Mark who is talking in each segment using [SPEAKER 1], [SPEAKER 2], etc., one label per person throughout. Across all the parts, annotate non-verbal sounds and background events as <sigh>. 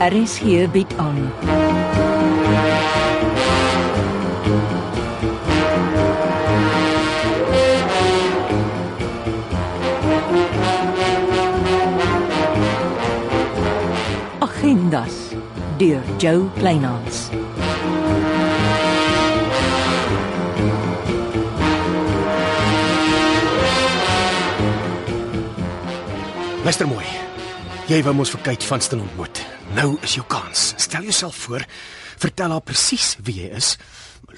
[SPEAKER 1] RSG bied aan. Agendas deur Jo Kleinhans.
[SPEAKER 2] Luister mooi. Jy wou mos vir Kate Vanston ontmoet. Nou is jou kans. Stel jouself voor, vertel haar presies wie jy is.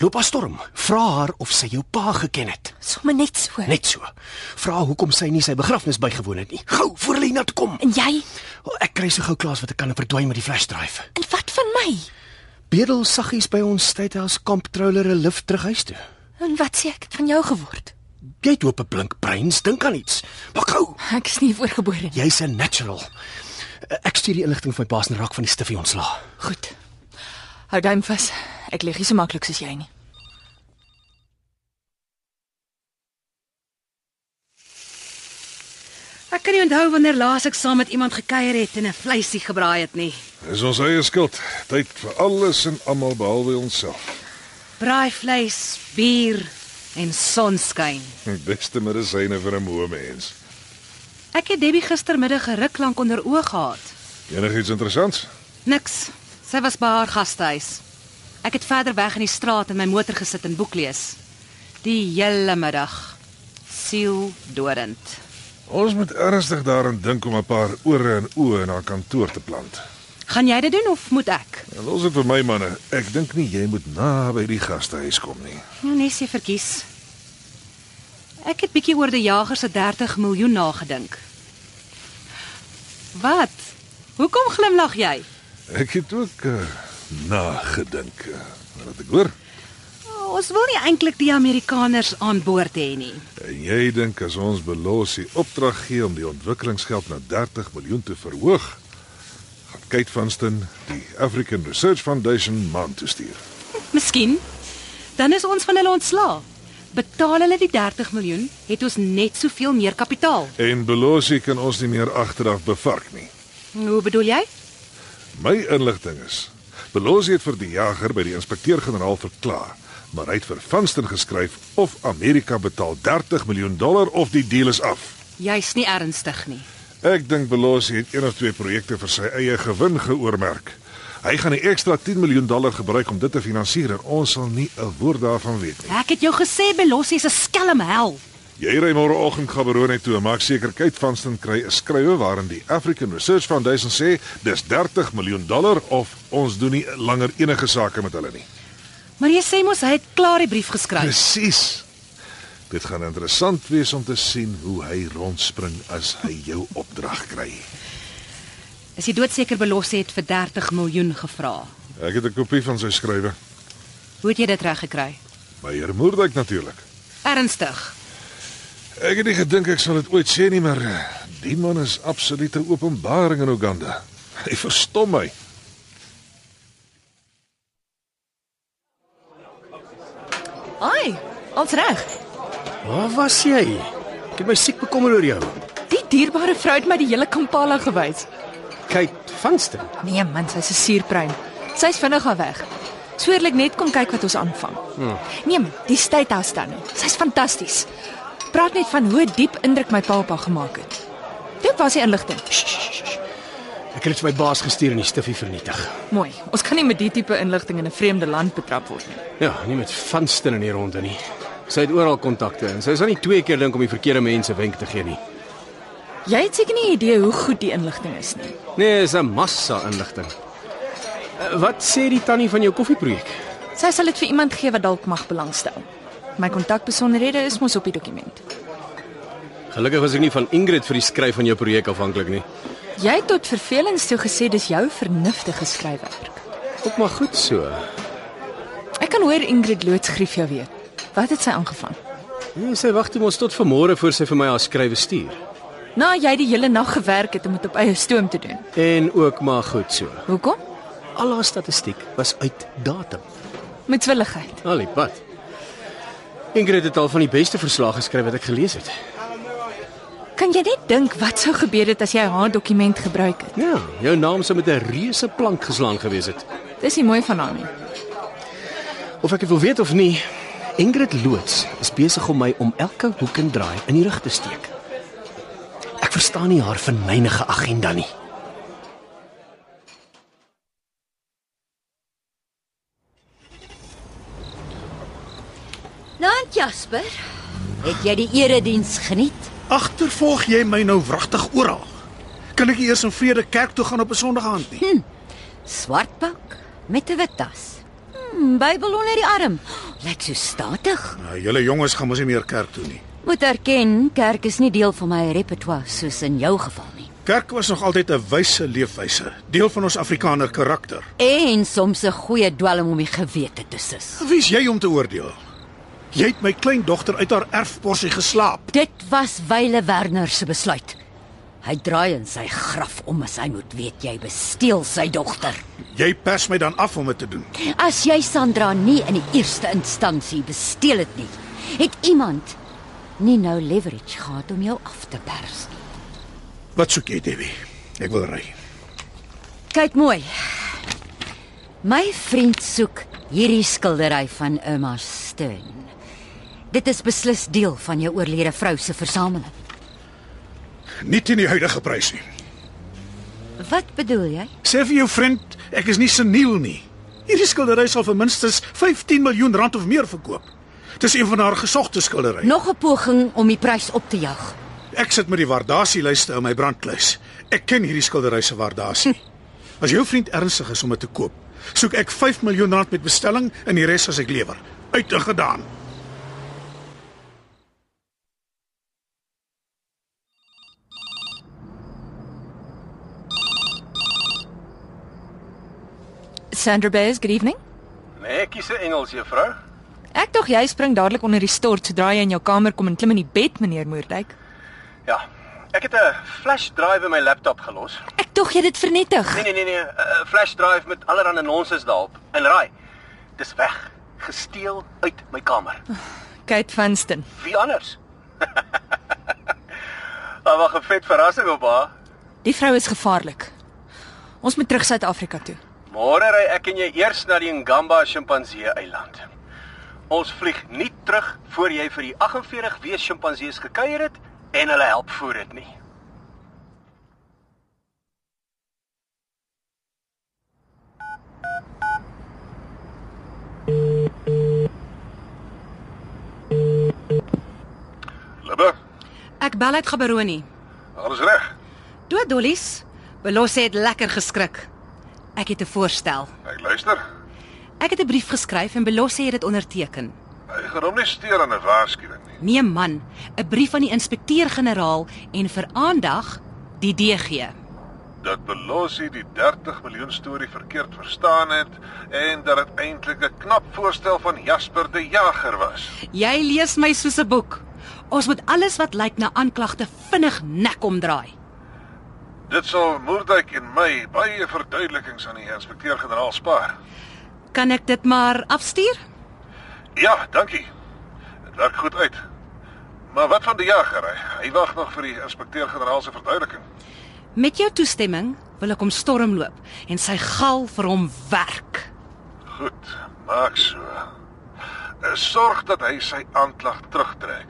[SPEAKER 2] Loop haar storm. Vra haar of sy jou pa geken het.
[SPEAKER 3] Somme net so.
[SPEAKER 2] Net so. Vra hoekom sy nie sy begrafnis bygewoon het nie. Gou voor hulle hiernatoe kom.
[SPEAKER 3] En jy?
[SPEAKER 2] Wel, Ek kry so gou klaas wat ek kan en verdwyn met die flash drive.
[SPEAKER 3] En wat van my?
[SPEAKER 2] Bedel saggies by ons Statehouse Camp Troller 'n lift terug huis toe.
[SPEAKER 3] En wat sê ek het van jou geword?
[SPEAKER 2] Jy het hoop 'n blink breins, dink aan iets. Maar gou.
[SPEAKER 3] Ek is nie voorgebore nie.
[SPEAKER 2] Jy's 'n natural. Ek stuur die inligting vir my baas en raak van die stiffie ontslaa.
[SPEAKER 3] Goed. Hou duim vas. Ek lig nie so maklik soos jy nie.
[SPEAKER 4] Ek kan nie onthou wanneer laas ek saam met iemand gekuier het en 'n vleisie gebraai het nie.
[SPEAKER 5] Dis ons eie skuld. Tyd vir alles en almal behalwe onsself.
[SPEAKER 4] Braai vleis, bier en sonskyn.
[SPEAKER 5] Die beste medisyne vir 'n moe mens.
[SPEAKER 4] Ek het Debbie gistermiddag 'n ruk lank onder oog gehad.
[SPEAKER 5] Enigiets interessants?
[SPEAKER 4] Niks. Sy was by haar gastehuis. Ek het verder weg in die straat in my motor gesit en boek lees. Die hele middag. Siel dodend.
[SPEAKER 5] Ons moet ernstig daaraan dink om 'n paar ore en oë in haar kantoor te plant.
[SPEAKER 4] Gaan jy dit doen of moet ek?
[SPEAKER 5] En los dit vir my manne. Ek dink nie jy moet naby die gastehuis kom nie.
[SPEAKER 4] Nou nee, sy verkies. Ek het bietjie oor die jager se 30 miljoen nagedink. Wat? Hoekom glimlag jy?
[SPEAKER 5] Ek het ook uh, nagedink. eh, Wat ek hoor.
[SPEAKER 4] Ons wil nie eintlik die Amerikaners aan boord hê nie.
[SPEAKER 5] En jy dink as ons Belosi opdrag gee om die ontwikkelingsgeld na 30 miljoen te verhoog, gaan Kate Vanston die African Research Foundation man toe stuur.
[SPEAKER 4] Miskien dan is ons van hulle ontslaa. Betaal hulle die 30 miljoen, het ons net soveel meer kapitaal.
[SPEAKER 5] En Belosi kan ons nie meer agteraf bevark nie.
[SPEAKER 4] Hoe bedoel jy?
[SPEAKER 5] My inligting is Belosi het vir die jager by die inspekteur-generaal verklaar, maar hy het vir Vanston geskryf of Amerika betaal 30 miljoen dollar of die deal is af.
[SPEAKER 4] Jy's nie ernstig nie.
[SPEAKER 5] Ek dink Belosi het een of twee projekte vir sy eie gewin geoormerk. Hy gaan die ekstra 10 miljoen dollar gebruik om dit te finansier en ons sal nie 'n woord daarvan weet nie.
[SPEAKER 4] Ek het jou gesê Belossie is 'n skelm hel.
[SPEAKER 5] Jy ry môreoggend Gaborone toe en maak seker Kate Vanston kry 'n skrywe waarin die African Research Foundation sê dis 30 miljoen dollar of ons doen nie langer enige sake met hulle nie.
[SPEAKER 4] Maar jy sê mos hy het klaar die brief geskryf.
[SPEAKER 5] Presies. Dit gaan interessant wees om te sien hoe hy rondspring as hy jou opdrag kry.
[SPEAKER 4] Is jy doodseker Belossie het vir 30 miljoen gevra?
[SPEAKER 5] Ek het 'n kopie van sy skrywe.
[SPEAKER 4] Hoe het jy dit reg gekry?
[SPEAKER 5] By Heer Moerdijk natuurlik.
[SPEAKER 4] Ernstig.
[SPEAKER 5] Ek het nie gedink ek sal dit ooit sê nie, maar eh, die man is absolute openbaring in Uganda. Hy verstom my.
[SPEAKER 3] Ai, ons reg.
[SPEAKER 2] Waar was jy? Ek het my siek bekommer oor jou.
[SPEAKER 3] Die dierbare vrou het my die hele Kampala gewys.
[SPEAKER 2] Kate Vanston.
[SPEAKER 3] Nee man, sy's 'n suurpruim. Sy's vinnig al weg. Sweerlik net kom kyk wat ons aanvang. Hmm. Nee man, die State House dan. Sy's fantasties. Praat net van hoe diep indruk my pa op haar gemaak het. Dit was die inligting.
[SPEAKER 2] Ek het dit vir my baas gestuur en die stiffie vernietig.
[SPEAKER 3] Mooi. Ons kan nie met die tipe inligting in 'n vreemde land betrap word nie.
[SPEAKER 2] Ja, nie met Vanston in die ronde nie. Sy het oral kontakte en sy sal nie twee keer dink om die verkeerde mense wenk te gee nie.
[SPEAKER 3] Jy het seker nie 'n idee hoe goed die inligting is nie.
[SPEAKER 2] Nee, is 'n massa inligting. Eh, Wat sê die tannie van jou koffieprojek?
[SPEAKER 3] Sy sal dit vir iemand gee wat dalk mag belangstel. My kontakbesonderhede is mos op die dokument.
[SPEAKER 2] Gelukkig was ek nie van Ingrid vir die skryf van jou projek afhanklik nie.
[SPEAKER 3] Jy het tot vervelings toe gesê dis jou vernuftige skryfwerk.
[SPEAKER 2] Ook maar goed so.
[SPEAKER 3] Ek kan hoor Ingrid loods grief jou weer. Wat het sy aangevang?
[SPEAKER 2] Nee, sy wag toe ons tot vanmôre voor sy vir my haar skrywe stuur.
[SPEAKER 3] Na jy die hele nag gewerk het om dit op eie stoom te doen.
[SPEAKER 2] En ook maar goed so.
[SPEAKER 3] Hoekom?
[SPEAKER 2] Al haar statistiek was uit datum.
[SPEAKER 3] Met swilligheid.
[SPEAKER 2] Al die pad. Ingrid het al van die beste verslae geskryf wat ek gelees het.
[SPEAKER 3] Kyk Kan jy net dink wat sou gebeur het as jy haar dokument gebruik het?
[SPEAKER 2] Ja, jou naam sou met 'n reuse plank geslaan gewees het.
[SPEAKER 3] Dis nie mooi van haar nie.
[SPEAKER 2] Of ek dit wil weet of nie, Ingrid Loots is besig om my om elke hoek en draai in die rug te steek. Ek verstaan nie haar vernynige agenda nie.
[SPEAKER 4] Nant Jasper, het jy die erediens geniet?
[SPEAKER 6] Agtervolg jy my nou wragtig oral? Kan ek nie eers in vrede kerk toe gaan op 'n Sondag aand nie?
[SPEAKER 4] Swart pak met 'n wit tas. Hmm, Bybel onder die arm. Lyk so statig.
[SPEAKER 6] Nou, julle jonges gaan mos nie meer kerk toe nie.
[SPEAKER 4] Moet erken, kerk is nie deel van my repertoire soos in jou geval nie.
[SPEAKER 6] Kerk was nog altyd 'n wyse leefwyse, deel van ons Afrikaner karakter.
[SPEAKER 4] En soms 'n goeie dwelm om die gewete te sis.
[SPEAKER 6] Wie's jy om te oordeel? Jy het my kleindogter uit haar erfporsie geslaap.
[SPEAKER 4] Dit was Wyle Werner se besluit. Hy draai in sy graf om as hy moet weet jy besteel sy dogter.
[SPEAKER 6] Jy pers my dan af om dit te doen.
[SPEAKER 4] As jy Sandra nie in die eerste instansie besteel het nie, het iemand nie nou leverage gehad om jou af te pers nie.
[SPEAKER 6] Wat soek jy, Debbie? Ek wil ry.
[SPEAKER 4] Kyk mooi. My vriend soek hierdie skildery van Irma Stern. Dit is beslis deel van jou oorlede vrou se versameling.
[SPEAKER 6] Nie teen die huidige prys nie.
[SPEAKER 4] Wat bedoel jy?
[SPEAKER 6] Sê vir jou vriend, ek is nie seniel nie. Hierdie skildery sal vir minstens 15 miljoen rand of meer verkoop. Dis een van haar gesogte skildery.
[SPEAKER 4] Nog 'n poging om die prys op te jag.
[SPEAKER 6] Ek sit met die waardasielyste in my brandklus. Ek ken hierdie skildery se waardasie. As jou vriend ernstig is om dit te koop, soek ek 5 miljoen rand met bestelling en die res as ek lewer. Uit en gedaan.
[SPEAKER 3] Sandra Bears, good evening.
[SPEAKER 7] Nee, kies 'n Engels juffrou.
[SPEAKER 3] Ek dog jy spring dadelik onder die stort sodra jy in jou kamer kom en klim in die bed, meneer Moerdijk.
[SPEAKER 7] Ja. Ek het 'n flash drive in my laptop gelos.
[SPEAKER 3] Ek dog jy het dit vernietig.
[SPEAKER 7] Nee nee nee nee, 'n flash drive met allerlei nonsens daarop. En raai, dis weg, gesteel uit my kamer.
[SPEAKER 3] Kate Vanston.
[SPEAKER 7] Wie anders? <laughs> Ah, wag, 'n vet verrassing op haar.
[SPEAKER 3] Die vrou is gevaarlik. Ons moet terug Suid-Afrika toe.
[SPEAKER 7] Môre ry ek en jy eers na die Ngamba chimpansee eiland. Ons vlieg nie terug voor jy vir die 48 wees chimpansees gekuier het en hulle help voer dit nie.
[SPEAKER 5] Libbe,
[SPEAKER 8] Ek bel uit Gaberoni.
[SPEAKER 5] alles reg.
[SPEAKER 8] Dood dollies. Belos het lekker geskrik. Ek het 'n voorstel.
[SPEAKER 5] Ek luister.
[SPEAKER 8] Ek het 'n brief geskryf en Belos het dit onderteken.
[SPEAKER 5] Hy gaan hom nie steur aan 'n waarskuwing nie.
[SPEAKER 8] Nee man, 'n brief aan die inspekteur-generaal en vir aandag die DG.
[SPEAKER 5] Dat Belosi die 30 miljoen storie verkeerd verstaan het en dat dit eintlik 'n knap voorstel van Jasper die Jager was.
[SPEAKER 8] Jy lees my soos 'n boek. Ons moet alles wat lyk na aanklagte vinnig nek omdraai.
[SPEAKER 5] Dit sal Moerdijk en my baie verduidelikings aan die inspekteur-generaal spaar.
[SPEAKER 8] Kan ek dit maar afstuur?
[SPEAKER 5] Ja, dankie. Dit werk goed uit. Maar wat van die jager? Hy, hy wag nog vir die inspekteur-generaal se verduideliking.
[SPEAKER 8] Met jou toestemming wil ek hom stormloop en sy gal vir hom werk.
[SPEAKER 5] Goed, maak so. Eh, Sorg dat hy sy aanklag terugtrek.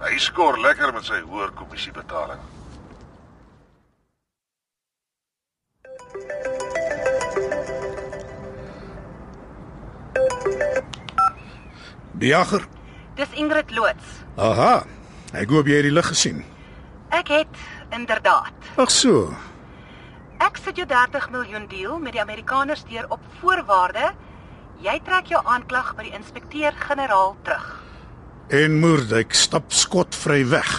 [SPEAKER 5] Hy skoor lekker met sy hoër kommissiebetaling.
[SPEAKER 6] Die jager.
[SPEAKER 9] Dis Ingrid Loots.
[SPEAKER 6] Aha. Ek hoop jy het die lig gesien.
[SPEAKER 9] Ek het inderdaad.
[SPEAKER 6] Ag so.
[SPEAKER 9] Ek sit jou 30 miljoen deal met die Amerikaners deur op voorwaarde jy trek jou aanklag by die inspekteur-generaal terug.
[SPEAKER 6] En Moerdijk stap skotvry weg.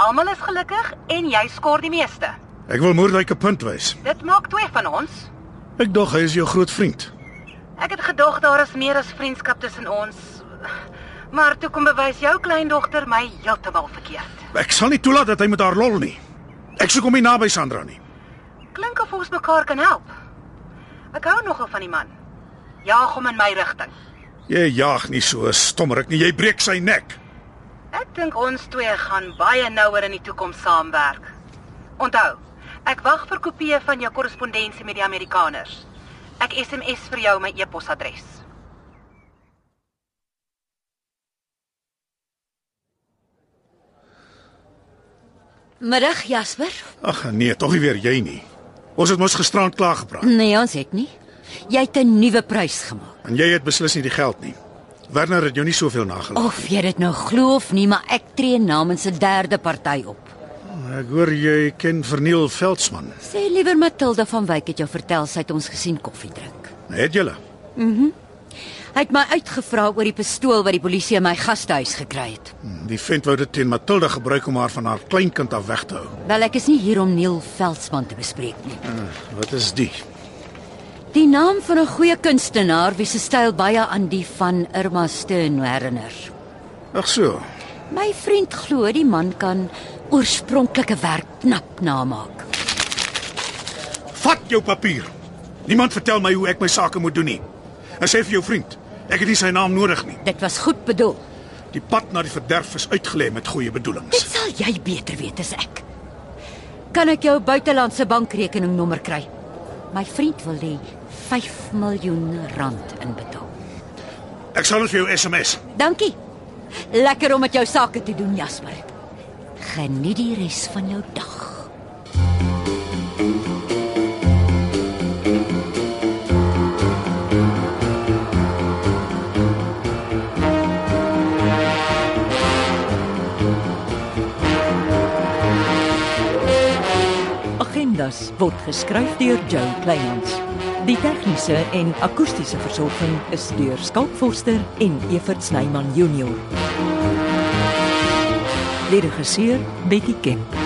[SPEAKER 9] Almal is gelukkig en jy skoor die meeste.
[SPEAKER 6] Ek wil Moerdijk 'n punt wys.
[SPEAKER 9] Dit maak twee van ons.
[SPEAKER 6] Ek dog hy is jou groot vriend.
[SPEAKER 9] Ek het gedog daar is meer as vriendskap tussen ons. Maar toe kom bewys jou kleindogter my heeltemal verkeerd.
[SPEAKER 6] Ek sal nie toelaat dat hy met haar lol nie. Ek soek hom nie naby Sandra nie.
[SPEAKER 9] Klink of ons mekaar kan help. Ek hou nogal van die man. Jaag hom in my rigting.
[SPEAKER 6] Jy jaag nie so stommerik nie. Jy breek sy nek.
[SPEAKER 9] Ek Ek dink ons twee gaan baie nouer in die toekoms saamwerk. Onthou, ek wag vir kopieë van jou korrespondensie met die Amerikaners. Ek SMS vir jou my e-posadres.
[SPEAKER 4] Middag Jasper.
[SPEAKER 6] Ag nee, tog nie weer jy nie. Ons het mos gisterand klaar gepraat
[SPEAKER 4] Nee, ons het nie. Jy het 'n nuwe prys gemaak.
[SPEAKER 6] en jy het beslis nie die geld nie. Werner het jou nie soveel nagelaat.
[SPEAKER 4] Of jy dit nou glo of nie, maar ek tree namens 'n derde party op.
[SPEAKER 6] Ek hoor jy ken Verniel Veldsmann.
[SPEAKER 4] Sê liewer Matilda van Wyk het jou vertel sy het ons gesien koffie drink.
[SPEAKER 6] Het julle?
[SPEAKER 4] Hy het my uitgevra oor die pistool wat die polisie in my gastehuis gekry het.
[SPEAKER 6] Die vent wou dit teen Matilda gebruik om haar van haar kleinkind af weg te hou.
[SPEAKER 4] Wel, ek is nie hier om Neil Veldsmann te bespreek nie.
[SPEAKER 6] Wat is die?
[SPEAKER 4] Die naam van 'n goeie kunstenaar wie se styl baie aan die van Irma Steen herinner.
[SPEAKER 6] Ag so.
[SPEAKER 4] My vriend glo die man kan oorspronklike werk knap namaak.
[SPEAKER 6] Vat jou papier. Niemand vertel my hoe ek my sake moet doen nie. En sê vir jou vriend, ek het nie sy naam nodig nie.
[SPEAKER 4] Dit was goed bedoel.
[SPEAKER 6] Die pad na die verderf is uitgelê met goeie
[SPEAKER 4] Dit
[SPEAKER 6] bedoelings.
[SPEAKER 4] sal jy beter weet as ek. Kan ek jou buitelandse bankrekeningnommer kry? My vriend wil hê 5 miljoen rand inbetaal.
[SPEAKER 6] Ek sal dit vir jou SMS.
[SPEAKER 4] Dankie. Lekker om met jou sake te doen, Jasper. Geniet die res van jou dag.
[SPEAKER 10] Agendas word geskryf deur Joe Kleinhans. Die tegniese en akoestiese versorging is deur Skalk Forster en Evert Snyman Junior. Lede geseer Betty Kemp.